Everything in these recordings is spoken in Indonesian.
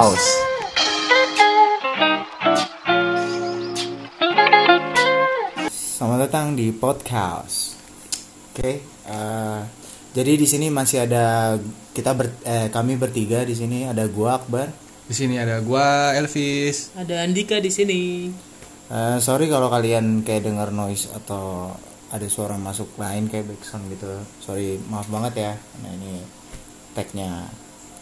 Podcast. Selamat datang di podcast. Oke, eh, jadi di sini masih ada kita ber, eh, kami bertiga di sini ada gua Akbar. Di sini ada gua Elvis. Ada Andika di sini. Eh, sorry kalau kalian kayak dengar noise atau ada suara masuk lain kayak background gitu. Sorry, maaf banget ya. Nah ini tagnya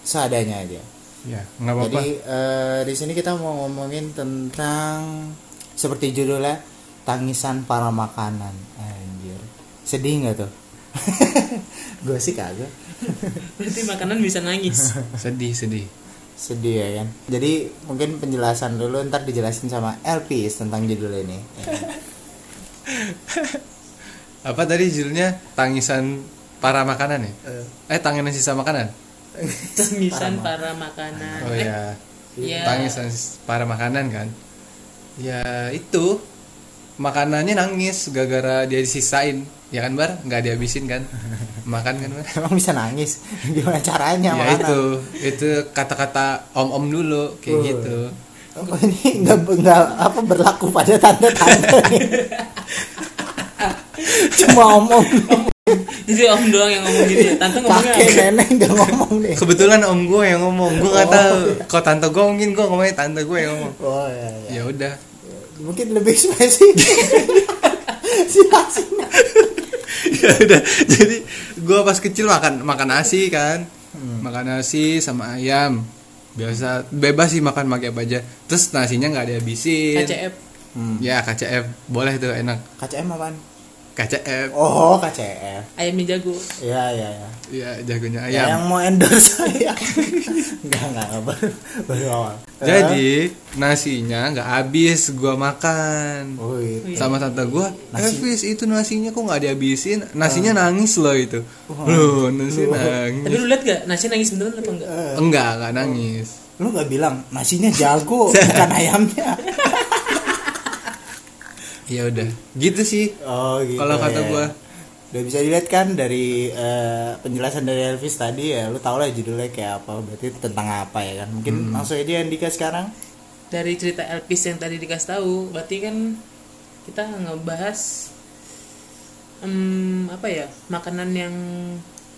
seadanya aja. Ya, nggak apa-apa. Jadi eh, di sini kita mau ngomongin tentang seperti judulnya tangisan para makanan. Anjir. Sedih nggak tuh? Gue sih kagak. Berarti makanan bisa nangis. Sedih, sedih. Sedih ya kan. Jadi mungkin penjelasan dulu ntar dijelasin sama LP tentang judul ini. Apa tadi judulnya? Tangisan para makanan ya? Eh, tangisan sisa makanan. Tangisan para makanan. Oh ya. Iya. Tangisan sis- para makanan kan. Ya, itu makanannya nangis gara-gara dia disisain. Ya kan, Bar? Nggak dihabisin kan? Makan kan, Bar? Emang bisa nangis? Gimana caranya Ya makanan? itu, itu kata-kata om-om dulu kayak gitu. Oh, ini nggak nggak apa berlaku pada tante-tante nih. Cuma omong Jadi om doang yang ngomong gitu. ya. Tante ngomongnya kakek apa? nenek nggak ngomong deh. Kebetulan om gue yang ngomong, gue nggak tahu. Kok tante gue mungkin gue ngomongnya tante gue yang ngomong. Oh ya, ya. Ya udah, mungkin lebih spesifik jelasin ya udah jadi gua pas kecil makan makan nasi kan Hmm. makan nasi sama ayam biasa bebas sih makan pakai apa aja terus nasinya nggak dihabisin KCF. ya KCF boleh tuh enak KCM apaan? KCF Oh KCM Ayamnya jago. ya ya ya ya jagonya Ya, ayam yang mau endorse saya nggak nggak nggak baru baru awal jadi nasinya nggak habis gua makan oh, itu. sama tante gua Elvis itu nasinya kok nggak dihabisin Oh. nasinya nangis loh itu loh Tapi nasi nangis lu lihat gak? Nasi nangis beneran apa enggak? enggak enggak nangis lu nggak bilang nasinya jago bukan ayamnya ya udah gitu sih oh gitu Kalau kata ya. gua. udah bisa dilihat kan dari eh, penjelasan dari Elvis tadi ya lu tau lah judulnya kayak apa berarti tentang apa ya kan mungkin langsung aja Andika sekarang Dari cerita Elvis yang tadi dikasih tahu, berarti kan kita ngebahas em, apa ya? Makanan yang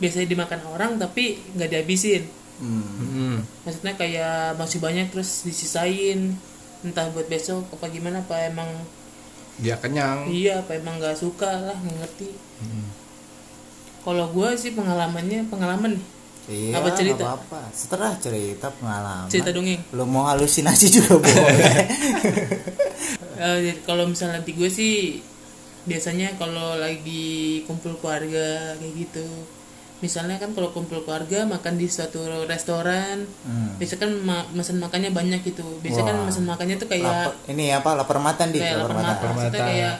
biasanya dimakan orang tapi nggak dihabisin. Hmm. Mm. maksudnya kayak masih banyak terus disisain entah buat besok apa gimana apa emang dia kenyang iya apa emang nggak suka lah nggak ngerti Hmm. kalau gue sih pengalamannya pengalaman nih, Iya, Apa cerita? nggak apa-apa. Setelah cerita pengalaman. cerita dongeng Lo mau halusinasi juga boleh. Eh, jadi kalau misalnya di gue sih biasanya kalau lagi kumpul keluarga kayak gitu misalnya kan kalau kumpul keluarga makan di suatu restoran Hmm. biasanya kan ma- mesen makannya banyak gitu biasanya kan Wah. mesen makannya tuh kayak Lapar- ini apa lapar mata nih kayak lapar lapar mata. mata maksudnya mata. kayak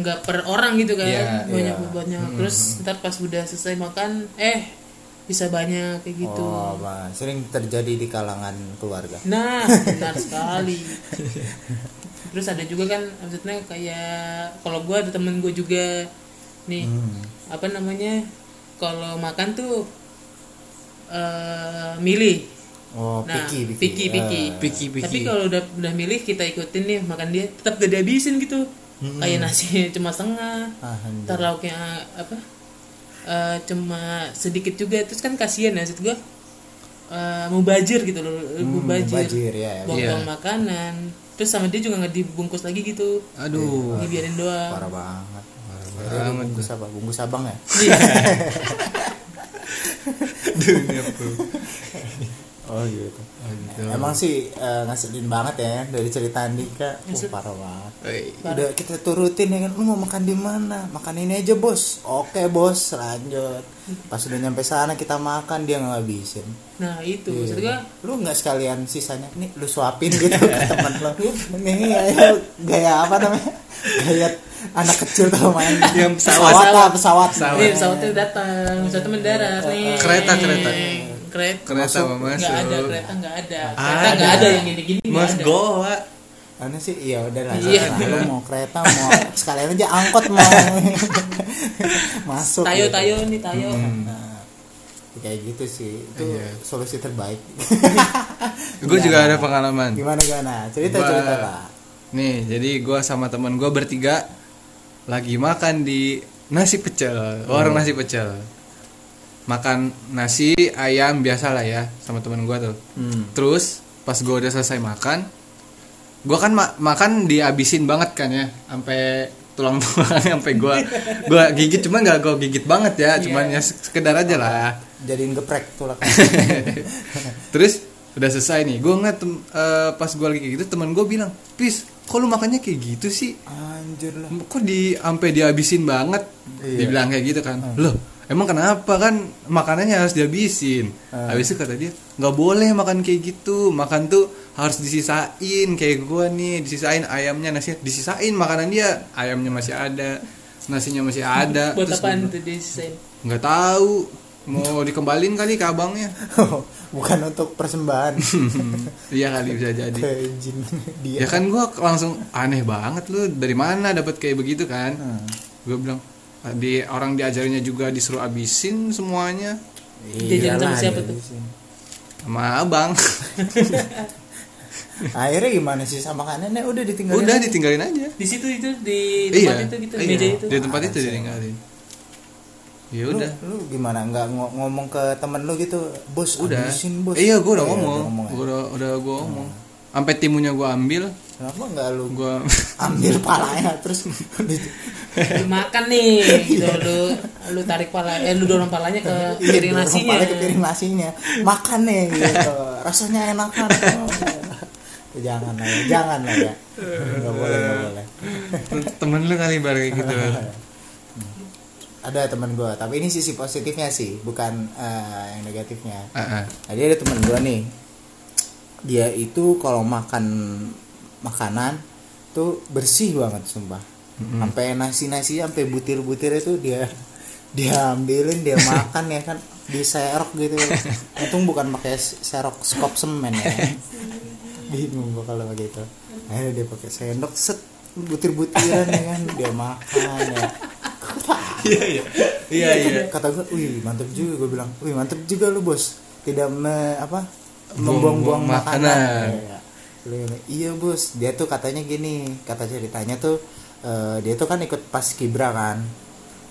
nggak per orang gitu kan Iya, banyak iya. banyak terus ntar pas udah selesai makan eh bisa banyak kayak gitu Oh, Bang. sering terjadi di kalangan keluarga. nah benar sekali terus ada juga kan maksudnya kayak kalau gue ada temen gue juga nih apa namanya kalau makan tuh eh milih Oh, Nah, piki piki. piki, piki. Eh, piki Tapi piki kalau udah udah milih kita ikutin nih makan dia tetap gak dihabisin gitu. Kayak nasinya cuma setengah, ah, anjir. ntar lauknya apa? eh, cuma sedikit juga terus kan kasihan ya maksud gua. eh, mubazir gitu loh, mubazir. mubazir, Mm, ya, ya. Buang-buang makanan. Terus sama dia juga nggak dibungkus lagi gitu. aduh Dibiarin doang. parah banget. Parah banget. Bungkus apa? Bungkus abang ya? Iya. dunia tuh Oh gitu. Emang sih eh, ngeselin banget ya dari cerita Andika. Oh, parah banget. Udah kita turutin ya kan, lu mau makan di mana? Makan ini aja bos. Oke bos, lanjut. Pas udah nyampe sana kita makan dia nggak habisin. Nah, itu Iya. maksud gua Lu nggak sekalian sisanya nih lu suapin gitu ke temen lo. Nih ayo gaya apa namanya? Gaya anak kecil tuh main. Yang pesawat. pesawat lah, pesawat. Iya, Nih, iya, pesawatnya datang, pesawatnya mendarat nih. Iya. Kereta, kereta. Kereta. kereta mau masuk Nggak ada kereta, nggak ada. Kereta Ada. nggak ada yang gini-gini. nggak mas ada. goa Karena sih iya udah lah. Iya. terserah. Lu mau kereta mau sekalian aja angkot mau masuk. Tayo, gitu. Hmm. tayo nih tayo. Nah, kayak gitu sih itu Iya. solusi terbaik Gue juga ada pengalaman. gimana gimana cerita cerita Gua- lah Nih, jadi gue sama temen gue bertiga lagi makan di nasi pecel, Oh. warung nasi pecel. Makan nasi ayam biasa lah ya sama temen gue tuh. hmm. Terus pas gue udah selesai makan, gue kan ma- makan dihabisin banget kan ya, sampai tulang-tulang sampai gue gue gigit cuman gak gue gigit banget ya, cuman ya sekedar aja lah. jadiin geprek tulak Terus udah selesai nih, gue ngeliat tem- eh, pas gue lagi kayak gitu teman gue bilang, pis, kok lu makannya kayak gitu sih? anjir lah Kok di sampai dihabisin banget? Iya. Dibilang kayak gitu kan, loh emang kenapa kan makanannya harus dihabisin? Ah. Habis itu kata dia nggak boleh makan kayak gitu, makan tuh harus disisain kayak gue nih, disisain ayamnya nasi, disisain makanan dia, ayamnya masih ada, nasinya masih ada. buat Terus apaan gua- tuh disisain Nggak tahu, mau dikembalin kali ke abangnya. bukan untuk persembahan iya kali bisa jadi. ke jin dia ya kan gua langsung aneh banget lu dari mana dapat kayak begitu kan Hmm. gue bilang di orang diajarinnya juga disuruh abisin semuanya Jajan sama Iyalah, siapa jadi tuh? sih. sama abang akhirnya gimana sih sama kanannya udah ditinggalin udah aja. ditinggalin aja di situ itu di tempat iya itu gitu iya. meja itu di tempat itu ditinggalin ya Lu- udah lu, gimana nggak ngo- ngomong ke temen lu gitu bos udah abisin, bos iya gue udah Oh, ya. ngomong gue udah udah gue ngomong sampai timunya gue ambil kenapa nggak lu gue ambil palanya terus di- Lu makan nih gitu Iya. lu lu tarik pala eh lu dorong palanya ke dorong piring nasinya palanya ke piring nasinya makan nih gitu rasanya enakan Oh, jangan lah ya jangan lah ya nggak boleh nggak boleh temen lu kali bar kayak gitu ada teman gue tapi ini sisi positifnya sih bukan eh, yang negatifnya Ah, ah. Jadi ada teman gue nih, dia itu kalau makan makanan tuh bersih banget sumpah. Sampai nasi-nasi, sampai butir-butir itu dia dia ambilin, dia makan ya kan, diserok gitu. Untung bukan pakai serok skop semen ya. Bingung gue kalau begitu. Akhirnya dia pakai sendok set butir-butiran ya kan, dia makan ya. iya iya iya iya Kata gue, wih mantep juga gue bilang, wih mantep juga lu bos, tidak me, apa membuang-buang Buang-buang makanan. makanan. Iya. Lu bilang, Iya bos, dia tuh katanya gini, kata ceritanya tuh eh, dia tuh kan ikut pas kibra kan.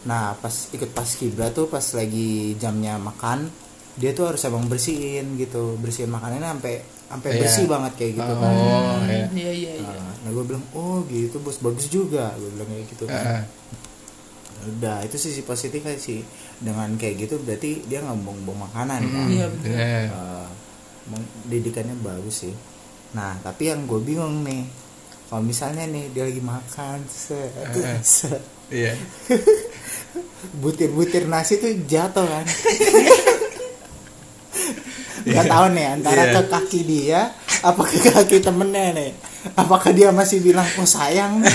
Nah pas ikut pas kibra tuh pas lagi jamnya makan, dia tuh harus emang bersihin gitu, bersihin makanannya sampai sampai Iya. bersih banget kayak gitu kan. oh iya iya iya iya Nah gue bilang, oh gitu bos bagus juga, gue bilang kayak gitu. kan Ah, ah. udah itu sisi positifnya sih dengan kayak gitu berarti dia nggak buang makanan kan Iya, betul. Iya. Eh, meng- didikannya bagus sih nah tapi yang gue bingung nih kalau misalnya nih dia lagi makan se- se- Iya. butir-butir nasi tuh jatuh kan nggak tahu nih antara Iya. ke kaki dia apa ke kaki temennya nih apakah dia masih bilang oh sayang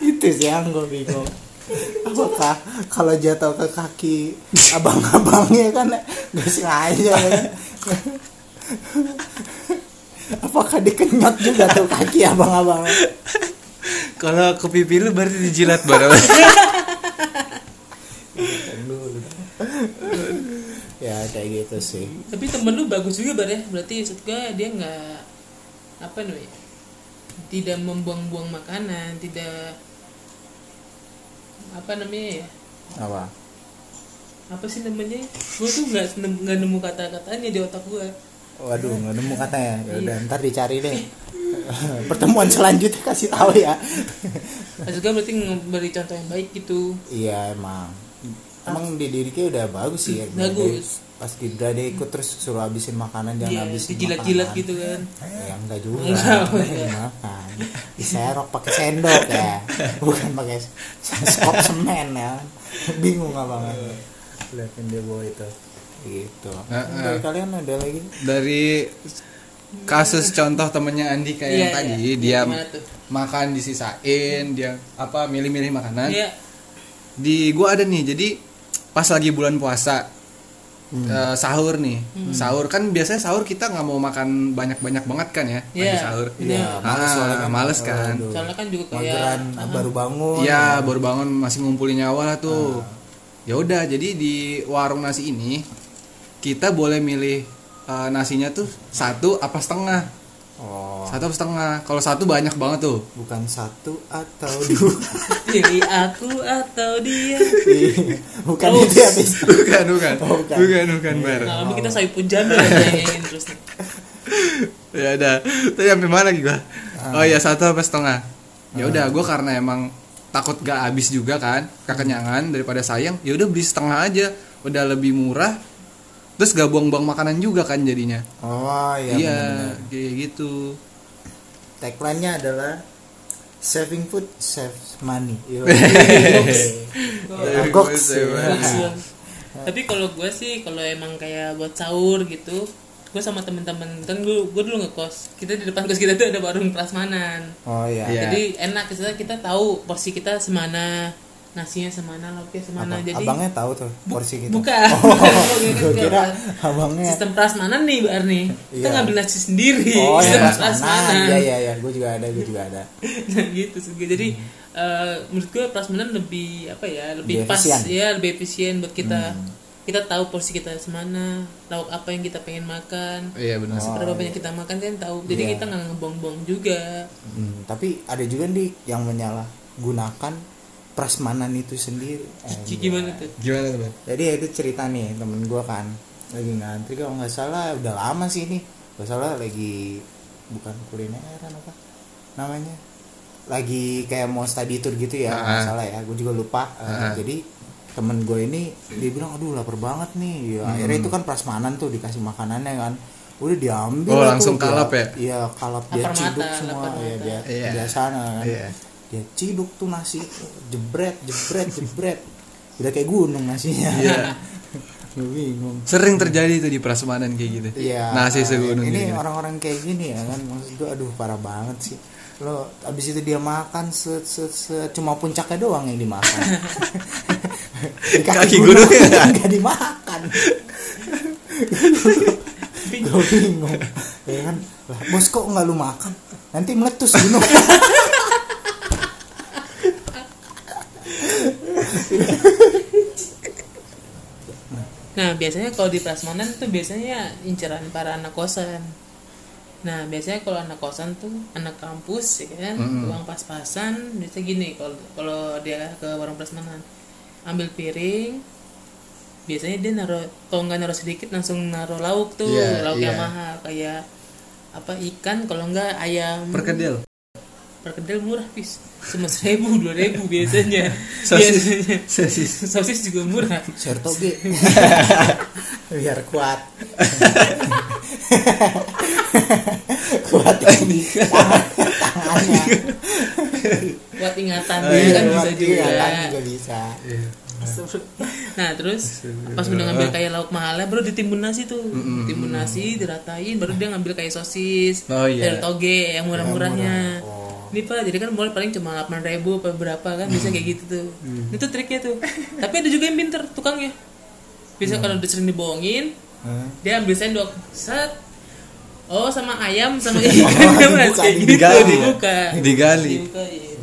itu sih yang gue bingung apakah kalau jatuh ke kaki abang-abangnya kan nggak sengaja kan? apakah dikenyot juga tuh kaki abang-abangnya Kalau ke pipi lu berarti dijilat bareng. ya kayak gitu sih tapi temen lu bagus juga bar ya berarti maksud gue dia nggak apa namanya tidak membuang-buang makanan tidak apa namanya ya apa apa sih namanya gue tuh nggak nem- nggak nemu kata-katanya di otak gue waduh nggak nemu katanya ya udah ntar dicari deh pertemuan selanjutnya kasih tahu ya maksud gue berarti memberi contoh yang baik gitu iya emang emang di didiknya udah bagus sih ya Bagus. Dari- pas Gibra dia ikut terus suruh habisin makanan dia jangan habisin makanan. dijilat-jilat Iya, gitu kan ya enggak juga Enggak, enggak. makan diserok pakai sendok ya bukan pakai s- skop semen ya bingung abangnya liatin dia bawa itu gitu dari kalian ada lagi Dari kasus contoh temennya Andika Iya, yang tadi iya. dia Gimana tuh? makan disisain, dia apa milih-milih makanan. Iya, Di gua ada nih. Jadi pas lagi bulan puasa eh, sahur nih. Hmm. Sahur kan biasanya sahur kita nggak mau makan banyak-banyak banget kan ya. lagi Iya, sahur. iya. Ah, males, kan. Aduh. soalnya kan juga kayak mageran ah, baru bangun Iya, baru bangun masih ngumpulin nyawa lah tuh. ya udah jadi di warung nasi ini kita boleh milih eh, nasinya tuh satu apa setengah Oh, satu apa setengah kalau satu banyak banget tuh bukan satu atau dua. Pilih aku atau dia. Iya, bukan Oh. itu habis. bukan bukan Oh, bukan. Iya. bukan bukan, kan, Bar. Nah, tapi kita sayup hujan ya, nanyain terus nih. ya udah tadi sampai mana lagi gua Ah. oh ya satu apa setengah ya udah gua karena emang takut gak habis juga kan kekenyangan daripada sayang ya udah beli setengah aja udah lebih murah terus gak buang-buang makanan juga kan jadinya Oh, iya. iya benar-benar. kayak gitu Tagline-nya adalah saving food saves money. Yo. Iya, Saving Goks. food, save Bagus, Nah, bagus. tapi kalau gue sih kalau emang kayak buat sahur gitu gue sama temen-temen kan gue gue dulu ngekos kita di depan kos kita tuh ada warung prasmanan Oh iya. Iya. jadi enak kita kita tahu porsi kita semana nasinya semana lauknya semana Abang- jadi abangnya tahu tuh porsi gitu. bukan Gue kira abangnya kan sistem prasmanan nih bar nih kita Iya. ngambil nasi sendiri Oh, sistem yang prasmanan. Iya, Hmm. iya, iya. Gue juga ada, gue juga ada. nah gitu sih. jadi eh, menurut gue prasmanan lebih apa ya Lebih lebih pas efisien. Hmm. ya lebih efisien buat kita kita tahu porsi kita semana lauk apa yang kita pengen makan iya benar seberapa banyak kita makan kan tahu jadi Oh, Iya. kita nggak ngebong-bong juga Hmm, tapi ada juga nih yang menyalahgunakan prasmanan itu sendiri. Eh, Ci, gimana tuh gimana tuh Bar? Jadi ya itu cerita nih temen gue kan lagi ngantri kalau nggak salah udah lama sih ini nggak salah lagi bukan kulineran apa namanya lagi kayak mau study tour gitu ya nggak Ah. salah ya gue juga lupa Eh, jadi temen gue ini dia bilang aduh lapar banget nih ya Hmm. akhirnya itu kan prasmanan tuh dikasih makanannya kan udah diambil Oh, lah tuh, langsung dia- kalap ya? iya kalap dia Lapar ciduk mata, semua lapar ya mata. dia Iya. biasanya kan Iya. dia ciduk tuh nasi jebret jebret jebret udah kayak gunung nasinya Iya. gue bingung sering terjadi tuh di prasmanan kayak gitu Iya. nasi eh, segunung ini gitu orang-orang kayak gini ya kan maksud gue aduh parah banget sih lo abis itu dia makan set set set cuma puncaknya doang yang dimakan Di Kaki gunung. nggak dimakan gue bingung ya kan lah, bos kok nggak lu makan nanti meletus gunung nah biasanya kalau di prasmanan tuh biasanya inceran para anak kosan nah biasanya kalau anak kosan tuh anak kampus ya kan Hmm. uang pas-pasan biasanya gini kalau kalau dia ke warung prasmanan ambil piring biasanya dia naruh kalau nggak naruh sedikit langsung naruh lauk tuh Iya, lauk yang iya. mahal kayak apa ikan kalau nggak ayam perkedel perkedel murah pis cuma seribu dua ribu biasanya sosis biasanya sosis sosis juga murah Serto G biar kuat kuat ini tangannya buat ingatan Oh, iya, kan bisa Kuat juga tangan juga bisa nah terus pas udah ngambil kayak lauk mahalnya baru ditimbun nasi tuh timbun nasi diratain baru dia ngambil kayak sosis Oh, iya. dan toge yang murah-murahnya ini pak jadi kan mulai paling cuma 8.000 ribu apa berapa kan bisa kayak gitu tuh itu triknya tuh tapi ada juga yang pinter tukangnya bisa kalau udah sering dibohongin Hmm. dia ambil sendok set oh sama ayam sama Oh, ikan dibuka, Mas. kayak gitu digali. ya? dibuka Digali. Dibuka, iya.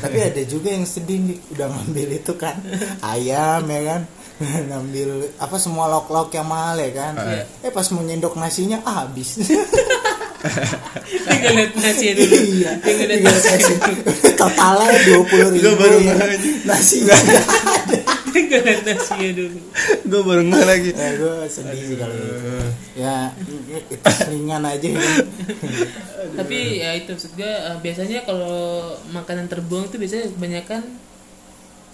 tapi ada juga yang sedih nih udah ngambil itu kan ayam ya kan ngambil apa semua lauk-lauk yang mahal ya kan Iya. eh pas mau nyendok nasinya ah, habis tinggal lihat nasi dulu Iya. tinggal lihat nasi totalnya dua puluh ribu Gua baru ya. ngeh. nasi nggak ada tinggal lihat nasinya dulu gue baru ngeh lagi ya gue sedih sih kalau itu ya itu ringan aja tapi ya itu maksud gue eh, biasanya kalau makanan terbuang tuh biasanya kebanyakan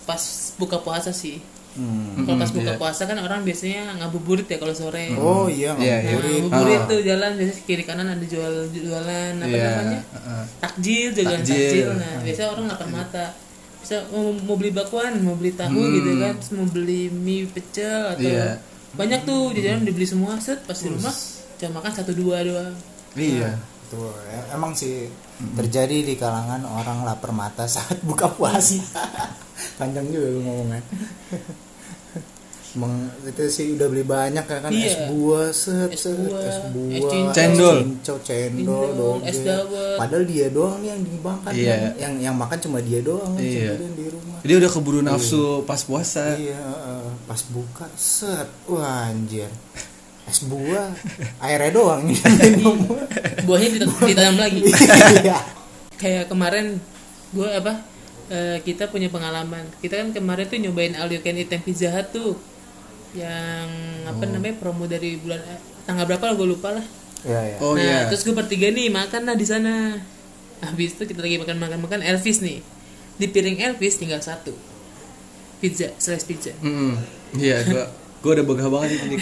pas buka puasa sih Hmm. kalau pas Mm-mm, buka iya. puasa kan orang biasanya ngabuburit ya kalau sore oh iya Iya, nggak iya. boleh. Nah, ngabuburit tuh jalan biasanya kiri kanan ada jual jualan apa Iya, namanya heeh. takjil jalan Takjil. Hmm. takjil nah biasanya orang lapar mata bisa mau, mau beli bakwan mau beli tahu gitu kan terus mau beli mie pecel atau Hmm. Iya. banyak tuh jajanan dibeli semua set pas di rumah cuma makan satu dua doang Ah. iya Tuh, ya, emang sih Hmm. terjadi di kalangan orang lapar mata saat buka puasa panjang juga lu ngomongan Meng, itu sih udah beli banyak ya kan es Iya. buah set Es set, buah, es es buah cincau, Cendol. es cincau, cendol Cendol, doge. es dawet. padahal dia doang nih yang dibangkan Iya. kan. yang yang makan cuma dia doang kan, Iya. sendirian di rumah Dia udah keburu nafsu pas puasa. iya eh, pas buka set wah anjir es buah airnya doang nih yang minum. buahnya ditan- ditanam lagi iya kayak kemarin gue apa eh, kita punya pengalaman kita kan kemarin tuh nyobain all you can eat yang pizza Hut tuh yang apa Oh. namanya promo dari bulan eh, tanggal berapa lah gue lupa lah iya iya Oh nah iya. terus gue bertiga nih makan lah di sana habis itu kita lagi makan makan makan Elvis nih di piring Elvis tinggal satu pizza slice pizza Mm-mm. Iya, gua gua udah begah banget ini.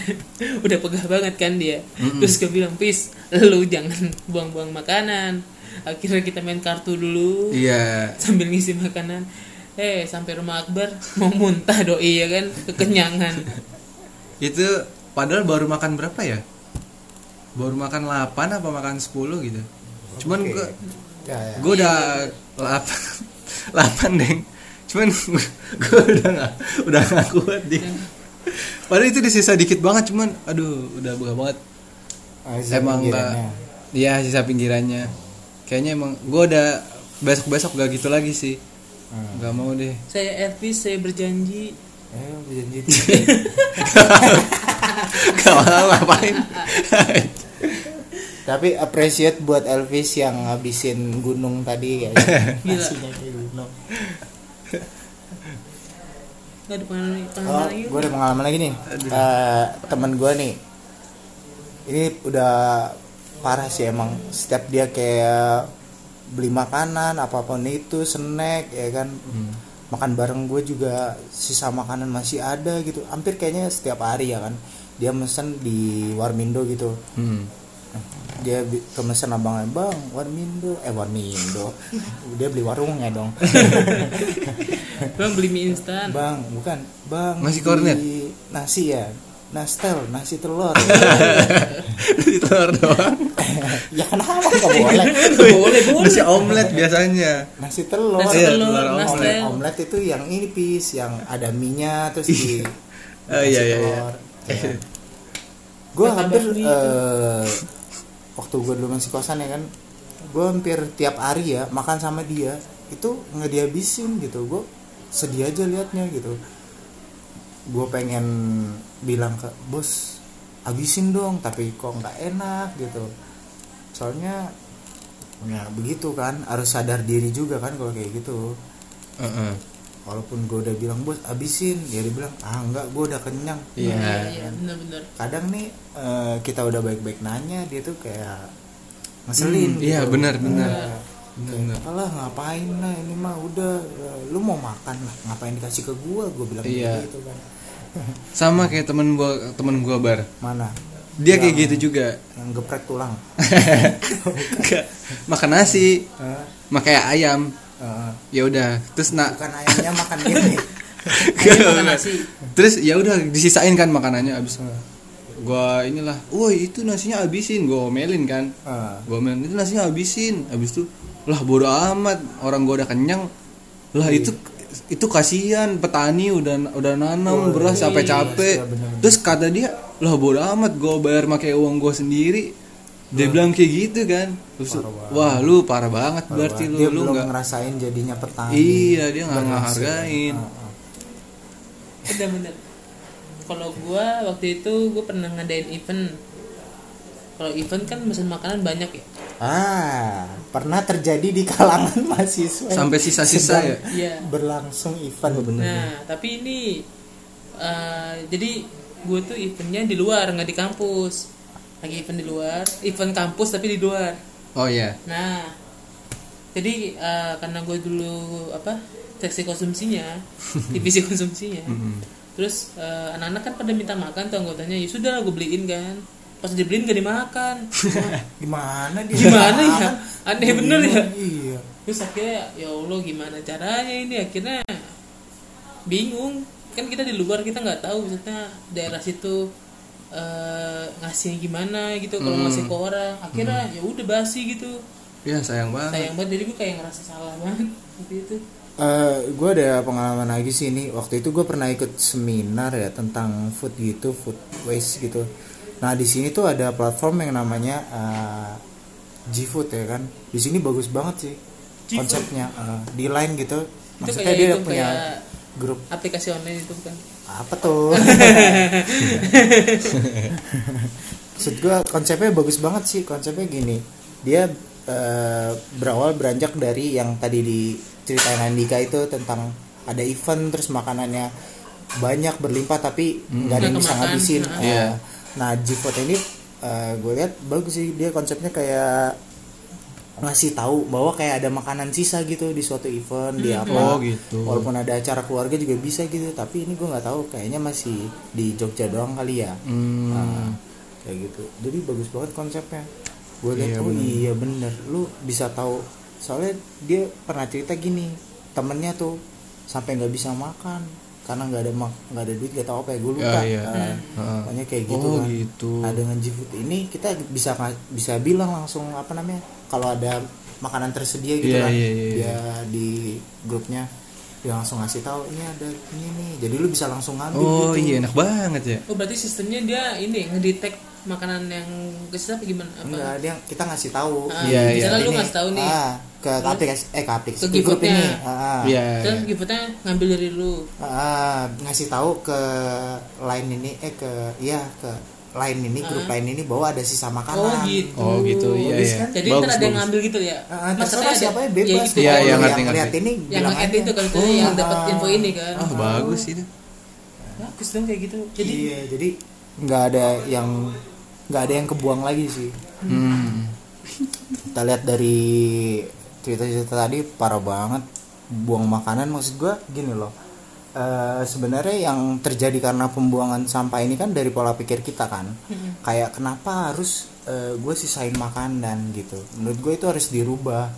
udah pegah banget kan dia terus gue bilang pis lu jangan buang-buang makanan akhirnya kita main kartu dulu Iya. sambil ngisi makanan eh sampai rumah Akbar mau muntah doi ya kan kekenyangan Itu padahal baru makan berapa ya? Baru makan 8 apa makan 10 gitu. Cuman Oke. gua Ya, ya. gua udah 8 8, Deng. Cuman gua udah gak, udah gak kuat, Deng. Padahal itu disisa dikit banget cuman aduh udah begah banget. Ah, sih, emang nggak pinggirannya. iya sisa pinggirannya kayaknya emang gue udah besok besok gak gitu lagi sih Hmm. nggak mau deh saya Elvis saya berjanji eh berjanji gak mau ngapain Tapi appreciate buat Elvis yang ngabisin gunung tadi ya. Gila. Nasinya kayak gunung. nggak ada pengalaman pengalaman Oh, lagi gue ada pengalaman lagi nih. Eh, temen gue nih. Ini udah parah sih emang. Setiap dia kayak beli makanan apapun itu snack ya kan makan bareng gue juga sisa makanan masih ada gitu hampir kayaknya setiap hari ya kan dia mesen di Warmindo gitu hmm. dia bi- kemesan abangnya bang warmindo eh warmindo dia beli warungnya dong bang beli mie instan bang bukan bang Nasi kornet? beli nasi ya nastel nasi telur Di telur doang ya kenapa nggak boleh boleh boleh nasi omelet biasanya nasi telur nasi Iya, telur telur omelet, nastel omelet itu yang ini pis yang ada minyak terus di Oh, iya, iya, iya. gue Kata hampir Bakmi itu. eh, waktu gue dulu masih kosan ya kan gue hampir tiap hari ya makan sama dia itu nggak dihabisin gitu gue sedih aja liatnya gitu gue pengen bilang ke bos habisin dong tapi kok nggak enak gitu soalnya ya begitu kan harus sadar diri juga kan kalau kayak gitu Heeh. walaupun gue udah bilang bos habisin dia bilang ah nggak gue udah kenyang iya iya iya benar benar kadang nih eh, kita udah baik-baik nanya dia tuh kayak ngeselin Hmm, iya, benar, benar. Nah, kayak, benar. apalah ngapain lah ini mah udah eh, lu mau makan lah ngapain dikasih ke gua gua bilang Iya. gitu kan sama kayak temen gua temen gua bar mana dia kayak gitu juga yang geprek tulang Nggak. makan nasi Eh, makai ayam eh, ya udah terus nak bukan ayamnya makan gini Ayam makan nasi. Terus ya udah disisain kan makanannya abis. Gua inilah, woi itu nasinya habisin, gua omelin kan. Eh, Gua omelin itu nasinya habisin. Abis itu lah bodo amat, orang gua udah kenyang. Lah itu itu kasihan petani udah udah nanam beras sampai iya, capek. Terus kata dia, lah bodo amat gua bayar pakai uang gua sendiri. Dia bilang kayak gitu kan. Terus, wah lu parah banget berarti lu dia lu belum nggak- ngerasain jadinya petani Iya, dia nggak Berhasil. ngehargain. Eh, eh. benar benar kalau gua waktu itu gua pernah ngadain event kalau event kan pesan makanan banyak ya Ah, pernah terjadi di kalangan mahasiswa yang Sampai Iya, sisa-sisa sedang ya? Iya. Berlangsung event Nah, tapi ini eh, jadi gue tuh eventnya di luar nggak di kampus. Lagi event di luar, event kampus tapi di luar. Oh ya. Nah, jadi eh, karena gue dulu apa seksi konsumsinya, divisi konsumsinya. Terus eh, anak-anak kan pada minta makan tuh anggotanya. Ya sudah gue beliin kan. Pas dibeliin gak dimakan. Gimana dia? Gimana ya? Aneh bener ya. Iya. Terus akhirnya ya Allah gimana caranya ini akhirnya bingung kan kita di luar kita nggak tahu maksudnya daerah situ eh ngasihnya gimana gitu kalau ngasih ke orang akhirnya ya udah basi gitu ya sayang banget sayang banget jadi gue kayak ngerasa salah banget waktu itu Eh, gue ada pengalaman lagi sih ini waktu itu gue pernah ikut seminar ya tentang food gitu food waste gitu nah di sini tuh ada platform yang namanya eh, GFood ya kan di sini bagus banget sih GFood? konsepnya eh, di line gitu maksudnya kayak dia itu, punya kayak- grup aplikasi online itu kan. bukan apa tuh maksud gue konsepnya bagus banget sih konsepnya gini dia eh, berawal beranjak dari yang tadi diceritain Andika itu tentang ada event terus makanannya banyak berlimpah tapi Hmm. nggak ada yang bisa Nggak kemakan, ngabisin ha. Eh, nah G4 ini gue lihat bagus sih dia konsepnya kayak ngasih tahu bahwa kayak ada makanan sisa gitu di suatu event di apa Oh, gitu. walaupun ada acara keluarga juga bisa gitu tapi ini gue nggak tahu kayaknya masih di Jogja doang kali ya Hmm. Nah, kayak gitu jadi bagus banget konsepnya gue lihat Iya, oh iya bener lu bisa tahu soalnya dia pernah cerita gini temennya tuh sampai nggak bisa makan karena nggak ada mak- nggak ada duit gak tahu apa ya gue lupa Ya, iya. Nah, Heeh. pokoknya kayak gitu Oh, kan gitu. Nah, dengan GFood ini kita bisa bisa bilang langsung apa namanya kalau ada makanan tersedia gitu Iya, kan iya, iya, dia di grupnya dia langsung ngasih tahu ini ada ini nih jadi lu bisa langsung ngambil oh gitu iya enak banget ya oh berarti sistemnya dia ini ngedetect makanan yang kesel apa gimana apa enggak dia kita ngasih tahu Ah, Iya, iya. misalnya lu Ini, ngasih tahu nih ah, ke ke aplikasi eh ke aplikasi Ke ke grup Giputnya. ini ah, Iya. terus gitu. gimana ngambil dari lu ah, ngasih tahu ke line ini eh ke ya ke line ini grup line ini bahwa ada sisa makanan Ah. oh gitu Oh gitu, iya bagus iya. kan? jadi ntar bagus, ada yang bagus. ngambil gitu ya Ah, ah, Maksudnya terserah ada- siapa ya bebas gitu. Iya, iya, Kalau ngerti, yang ngerti. lihat ini yang bilang ngeliat aja. itu kalau misalnya yang ah. dapat info ini kan ah bagus itu bagus dong kayak gitu jadi iya jadi nggak ada yang nggak ada yang kebuang lagi sih hmm. kita lihat dari cerita-cerita tadi parah banget buang makanan maksud gua gini loh Eh, sebenarnya yang terjadi karena pembuangan sampah ini kan dari pola pikir kita kan kayak kenapa harus gue sisain makanan gitu menurut gue itu harus dirubah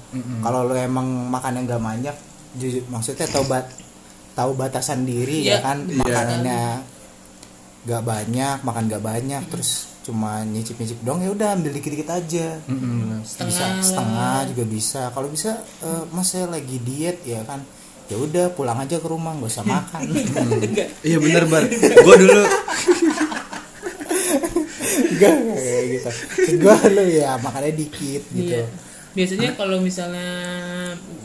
kalau lo emang makan yang gak banyak jujur maksudnya taubat tahu batasan diri ya Iya. kan makanannya gak banyak makan gak banyak terus cuma nyicip nyicip dong ya udah ambil dikit dikit aja Setengah bisa lah. setengah juga bisa kalau bisa eh, mas saya lagi diet ya kan ya udah pulang aja ke rumah gak usah makan enggak iya bener bar gue dulu gak kayak gitu Maksud gua lo ya makannya dikit gitu Iya. Biasanya kalau misalnya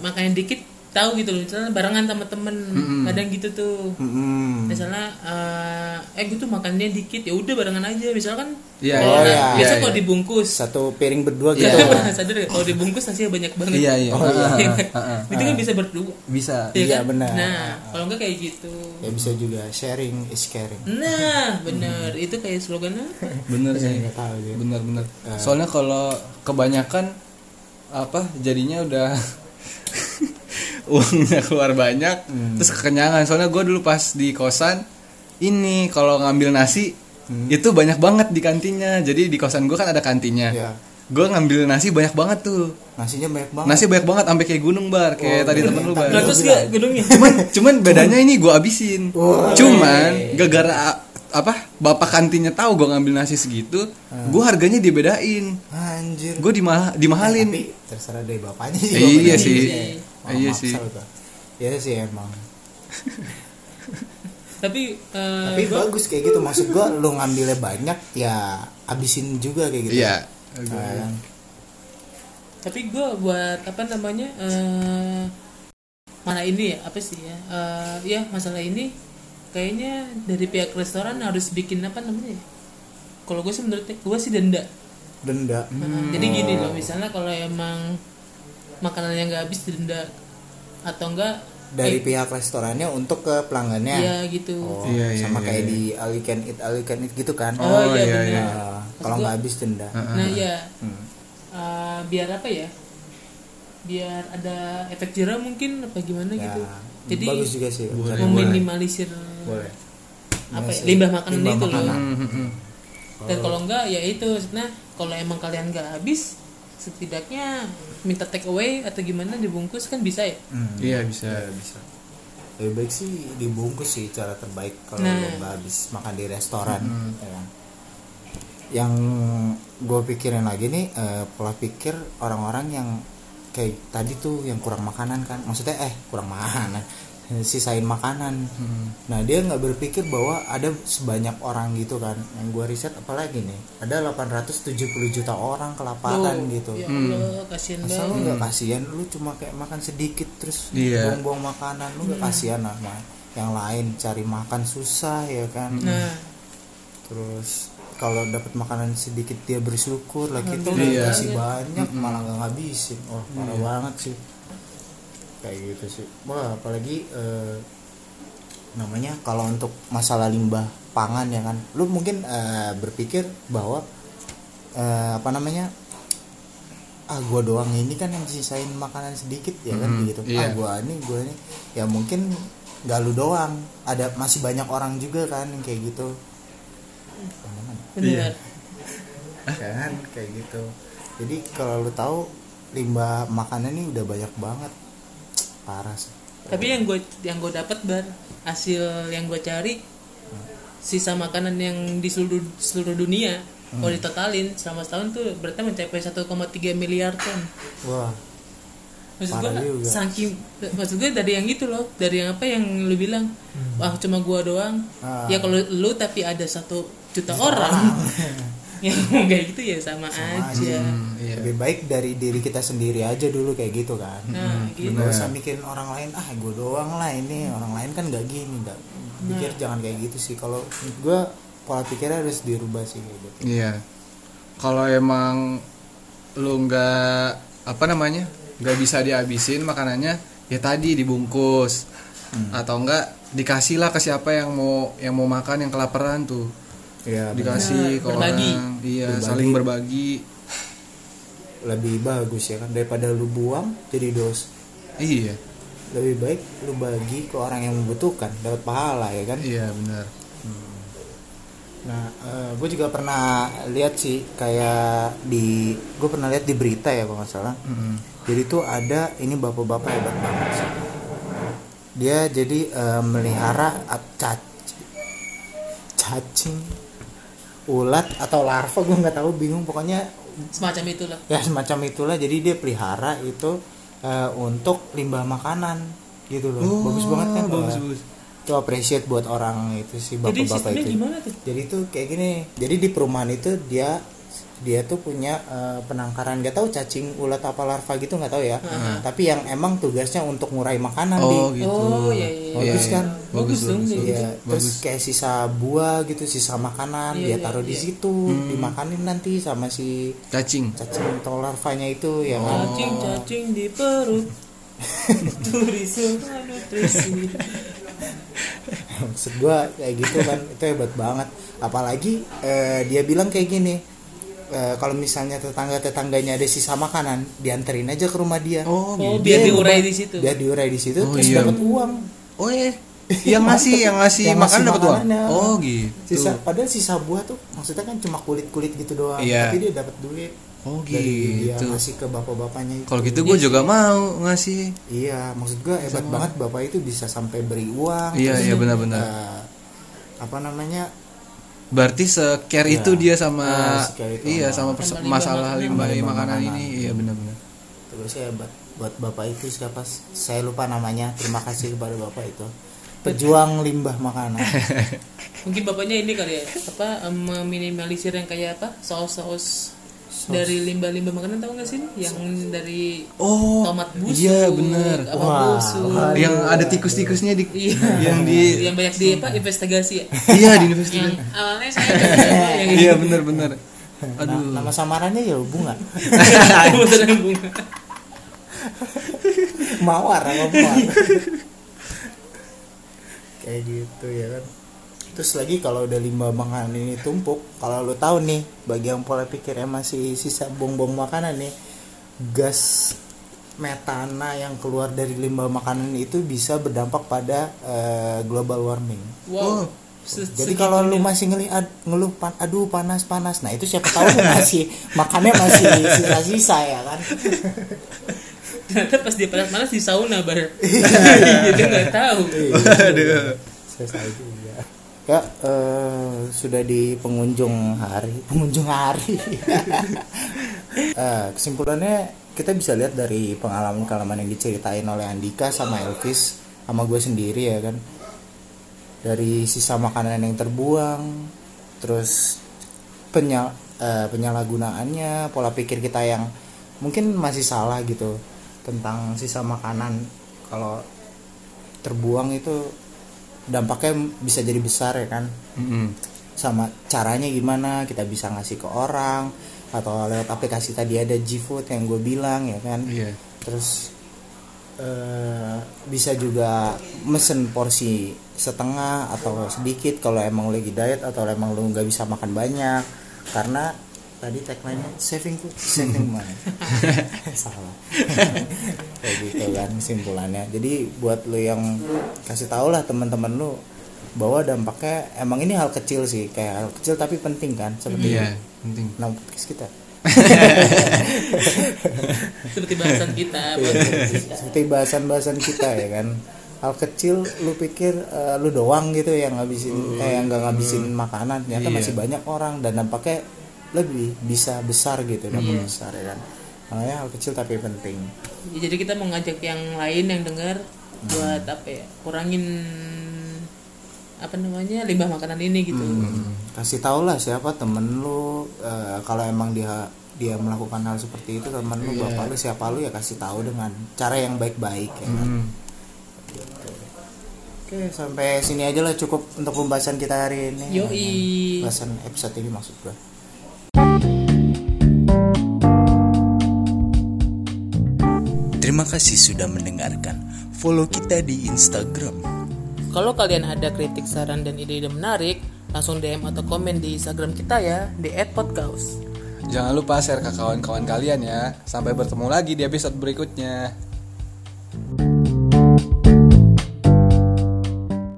makannya dikit tahu gitu loh, misalnya barengan sama temen, kadang gitu tuh. Mm-mm. Misalnya eh, eh gue tuh makannya dikit, ya udah barengan aja. Misalkan Iya, iya, kalau na- iya, biasa iya. kalau dibungkus, satu piring berdua gitu Iya. Kalian pernah sadar nggak? kalau dibungkus nasinya banyak banget. Iya, iya. Oh, iya. Iya kan? Ah, ah, Itu kan bisa berdua. bisa Iya, kan? benar. Nah, kalau enggak kayak gitu. ya bisa juga sharing is caring Nah, bener. Itu kayak slogan apa? bener iya. sih nggak tahu gitu. bener-bener soalnya kalau kebanyakan apa jadinya udah uangnya keluar banyak terus kekenyangan soalnya gue dulu pas di kosan ini kalau ngambil nasi itu banyak banget di kantinnya jadi di kosan gue kan ada kantinnya Iya. Ah. gue ngambil nasi banyak banget tuh nasinya banyak banget nasi banyak banget sampai kayak gunung bar kayak tadi temen lu bar Ratus gak gedungnya? cuman cuman bedanya ini gue abisin cuman gara-gara a- apa bapak kantinnya tahu gue ngambil nasi segitu gue harganya dibedain anjir gue dimah Eh, dimahalin tapi terserah dari bapaknya gua Eh, iya bener. sih Wah, Eh, iya maksa sih lu tuh. iya sih emang Eh, Tapi, eh, tapi bagus kayak gitu maksud gua lu ngambilnya banyak ya abisin juga kayak gitu iya Nah, tapi gue buat apa namanya eh mana ini ya apa sih ya Eh, ya masalah ini kayaknya dari pihak restoran harus bikin apa namanya ya? kalau gue sih menurut gue sih denda denda jadi gini loh misalnya kalau emang makanan yang nggak habis denda atau enggak dari pihak restorannya untuk ke pelanggannya ya Eh. gitu Oh, Iya, iya, sama iya, kayak di all you can eat all you can eat gitu kan Oh, iya, iya, benar. Nah, kalau nggak habis denda nah ya Eh, biar apa ya biar ada efek jerah mungkin apa gimana ya gitu jadi bagus juga sih Iya meminimalisir boleh apa ya, Masih limbah makanan limbah itu makanan. loh dan kalau enggak ya itu maksudnya kalau emang kalian nggak habis setidaknya minta take away atau gimana dibungkus kan bisa ya iya bisa bisa lebih baik sih dibungkus sih cara terbaik kalau Nah. lo nggak habis makan di restoran ya kan? yang gue pikirin lagi nih eh, pola pikir orang-orang yang kayak tadi tuh yang kurang makanan kan maksudnya eh kurang makanan sisain makanan Hmm. nah dia nggak berpikir bahwa ada sebanyak orang gitu kan yang gua riset apalagi nih ada 870 juta orang kelaparan Tuh, gitu ya Allah kasihan Masa banget lu nggak kasihan lu cuma kayak makan sedikit terus Iya. buang-buang makanan lu nggak kasihan sama yang lain cari makan susah ya kan nah terus kalau dapat makanan sedikit dia bersyukur lah kita Iya. udah dikasih banyak malah nggak ngabisin oh parah banget sih kayak gitu sih wah apalagi eh, namanya kalau untuk masalah limbah pangan ya kan lu mungkin eh, berpikir bahwa eh, apa namanya ah gua doang ini kan yang sisain makanan sedikit ya kan Mm, gitu ah iya. gua ini gua ini ya mungkin gak lu doang ada masih banyak orang juga kan yang kayak gitu Iya. benar kan kayak gitu jadi kalau lu tahu limbah makanan ini udah banyak banget parah sih tapi yang gue yang gue dapat bar hasil yang gue cari sisa makanan yang di seluruh seluruh dunia Hmm. kalau ditotalin selama setahun tuh berarti mencapai 1,3 miliar ton wah maksud Parah gue juga. saking maksud gue dari yang itu loh dari yang apa yang lu bilang wah cuma gue doang Hmm. Ah. ya kalau lu tapi ada satu juta orang yang kayak gitu ya sama, aja, Hmm, iya. lebih baik dari diri kita sendiri aja dulu kayak gitu kan nah gitu nggak usah mikirin orang lain ah gue doang lah ini orang lain kan nggak gini nggak pikir jangan kayak gitu sih kalau gue pola pikirnya harus dirubah sih kayak gitu Iya. Kalau emang lu nggak apa namanya nggak bisa dihabisin makanannya ya tadi dibungkus atau enggak dikasih lah ke siapa yang mau yang mau makan yang kelaparan tuh ya Iya, dikasih Benar, ke berbagi. orang iya Berbagi. saling berbagi lebih bagus ya kan daripada lu buang jadi dos iya lebih baik lu bagi ke orang yang membutuhkan dapat pahala ya kan iya benar Nah, gue juga pernah lihat sih kayak di gue pernah lihat di berita ya kalau nggak salah. Hmm. Jadi tuh ada ini bapak-bapak hebat banget sih. Dia jadi eh, melihara at- cac- cacing, ulat atau larva gue nggak tahu bingung pokoknya semacam itulah ya semacam itulah jadi dia pelihara itu eh, untuk limbah makanan gitu loh bagus banget kan bagus Wah, bagus itu appreciate buat orang itu sih jadi bapak-bapak sistemnya itu gimana tuh jadi tuh kayak gini jadi di perumahan itu dia dia tuh punya eh, penangkaran gak tahu cacing ulat apa larva gitu nggak tahu ya tapi yang emang tugasnya untuk ngurai makanan di oh gitu oh iya iya Iya, Bagus iya. kan? bagus, Bagus dong, bagus, kayak bagus. Iya, terus kayak sisa buah gitu sisa makanan Iya, dia iya, taruh di iya. situ dimakanin nanti sama si cacing cacing atau larvanya itu ya kan? Oh, cacing cacing di perut turisu nutrisi maksud gua kayak gitu kan itu hebat banget apalagi eh, dia bilang kayak gini eh, kalau misalnya tetangga tetangganya ada sisa makanan dianterin aja ke rumah dia oh oh gitu. biar Dia diurai ngebuat- di situ biar diurai di situ Oh, terus iya. dapat uang oh iya yang ngasih yang ngasih Yang ngasih makan dapat uang makanannya. oh gitu sisa padahal sisa buah tuh maksudnya kan cuma kulit kulit gitu doang Iya. tapi dia dapat duit oh dari dia gitu ngasih Iya ke bapak bapaknya itu Kalau gitu gue juga mau ngasih. iya maksud gua hebat banget bapak itu bisa sampai beri uang Iya iya benar-benar. eh, apa namanya Berarti scare itu dia sama Iya. Ah, scare itu iya sama sama- perso- sama limbah masalah makanan. limbah Limbah makanan makanan. ini. Iya benar-benar. terus saya buat buat bapak itu siapa saya lupa namanya terima kasih kepada bapak itu pejuang limbah makanan Nah, mungkin bapaknya ini kali ya apa em, meminimalisir yang kayak apa saus saus dari limbah-limbah makanan tahu nggak sih yang dari Oh tomat busuk iya benar. apa Wah, busuk wah. Oh, Yang ada tikus-tikusnya di iya yang di yang banyak di apa investigasi ya iya di universitas. yang awalnya saya nggak ya. yang Iya benar-benar. Nah, Aduh. nama samarannya ya bunga beneran bunga mawar sama mawar kayak gitu ya kan terus lagi kalau udah limbah makanan ini tumpuk kalau lu tahu nih bagi yang pola pikirnya masih sisa bongbong makanan nih gas metana yang keluar dari limbah makanan itu bisa berdampak pada eh, global warming wow Se- Jadi kalau lu masih ngelihat ngeluh pan, aduh panas panas. Nah, itu siapa tahu lu masih makannya masih sisa-sisa ya kan. ternyata pas dia panas-panas di sauna bar jadi nggak tahu Aduh. Selesai juga. Ya, eh, sudah di pengunjung hari, pengunjung hari. Eh, kesimpulannya kita bisa lihat dari pengalaman-pengalaman yang diceritain oleh Andika sama Elvis sama gue sendiri ya kan dari sisa makanan yang terbuang terus penyal eh, penyalahgunaannya pola pikir kita yang mungkin masih salah gitu tentang sisa makanan kalau terbuang itu dampaknya bisa jadi besar ya kan Mm-mm. sama caranya gimana kita bisa ngasih ke orang atau lewat aplikasi tadi ada GFood yang gue bilang ya kan Iya. terus eh, bisa juga mesen porsi setengah atau sedikit kalau emang lagi diet atau emang lu nggak bisa makan banyak karena tadi tagline-nya saving food saving money salah kayak gitu kan simpulannya jadi buat lu yang kasih tau lah teman-teman lu bahwa dampaknya emang ini hal kecil sih kayak hal kecil tapi penting kan seperti Iya, penting. nah podcast kita seperti bahasan kita buat Iya. seperti bahasan-bahasan kita ya kan hal kecil lu pikir eh, lu doang gitu yang ngabisin eh yang nggak ngabisin makanan ternyata Iya. masih banyak orang dan dampaknya lebih bisa besar gitu Hmm. dampak besar ya kan makanya hal kecil tapi penting Ya, jadi kita mau ngajak yang lain yang dengar buat apa ya kurangin apa namanya limbah makanan ini gitu kasih tau lah siapa temen lu eh, kalau emang dia dia melakukan hal seperti itu temen lu Iya. bapak lu siapa lu ya kasih tahu dengan cara yang baik-baik ya kan? Hmm. oke sampai sini aja lah cukup untuk pembahasan kita hari ini yoi pembahasan episode ini maksud gua Terima kasih sudah mendengarkan. Follow kita di Instagram Kalau kalian ada kritik, saran, dan ide-ide menarik, langsung DM atau komen di Instagram kita ya, di @podcaus. Jangan lupa share ke kawan-kawan kalian ya. Sampai bertemu lagi di episode berikutnya.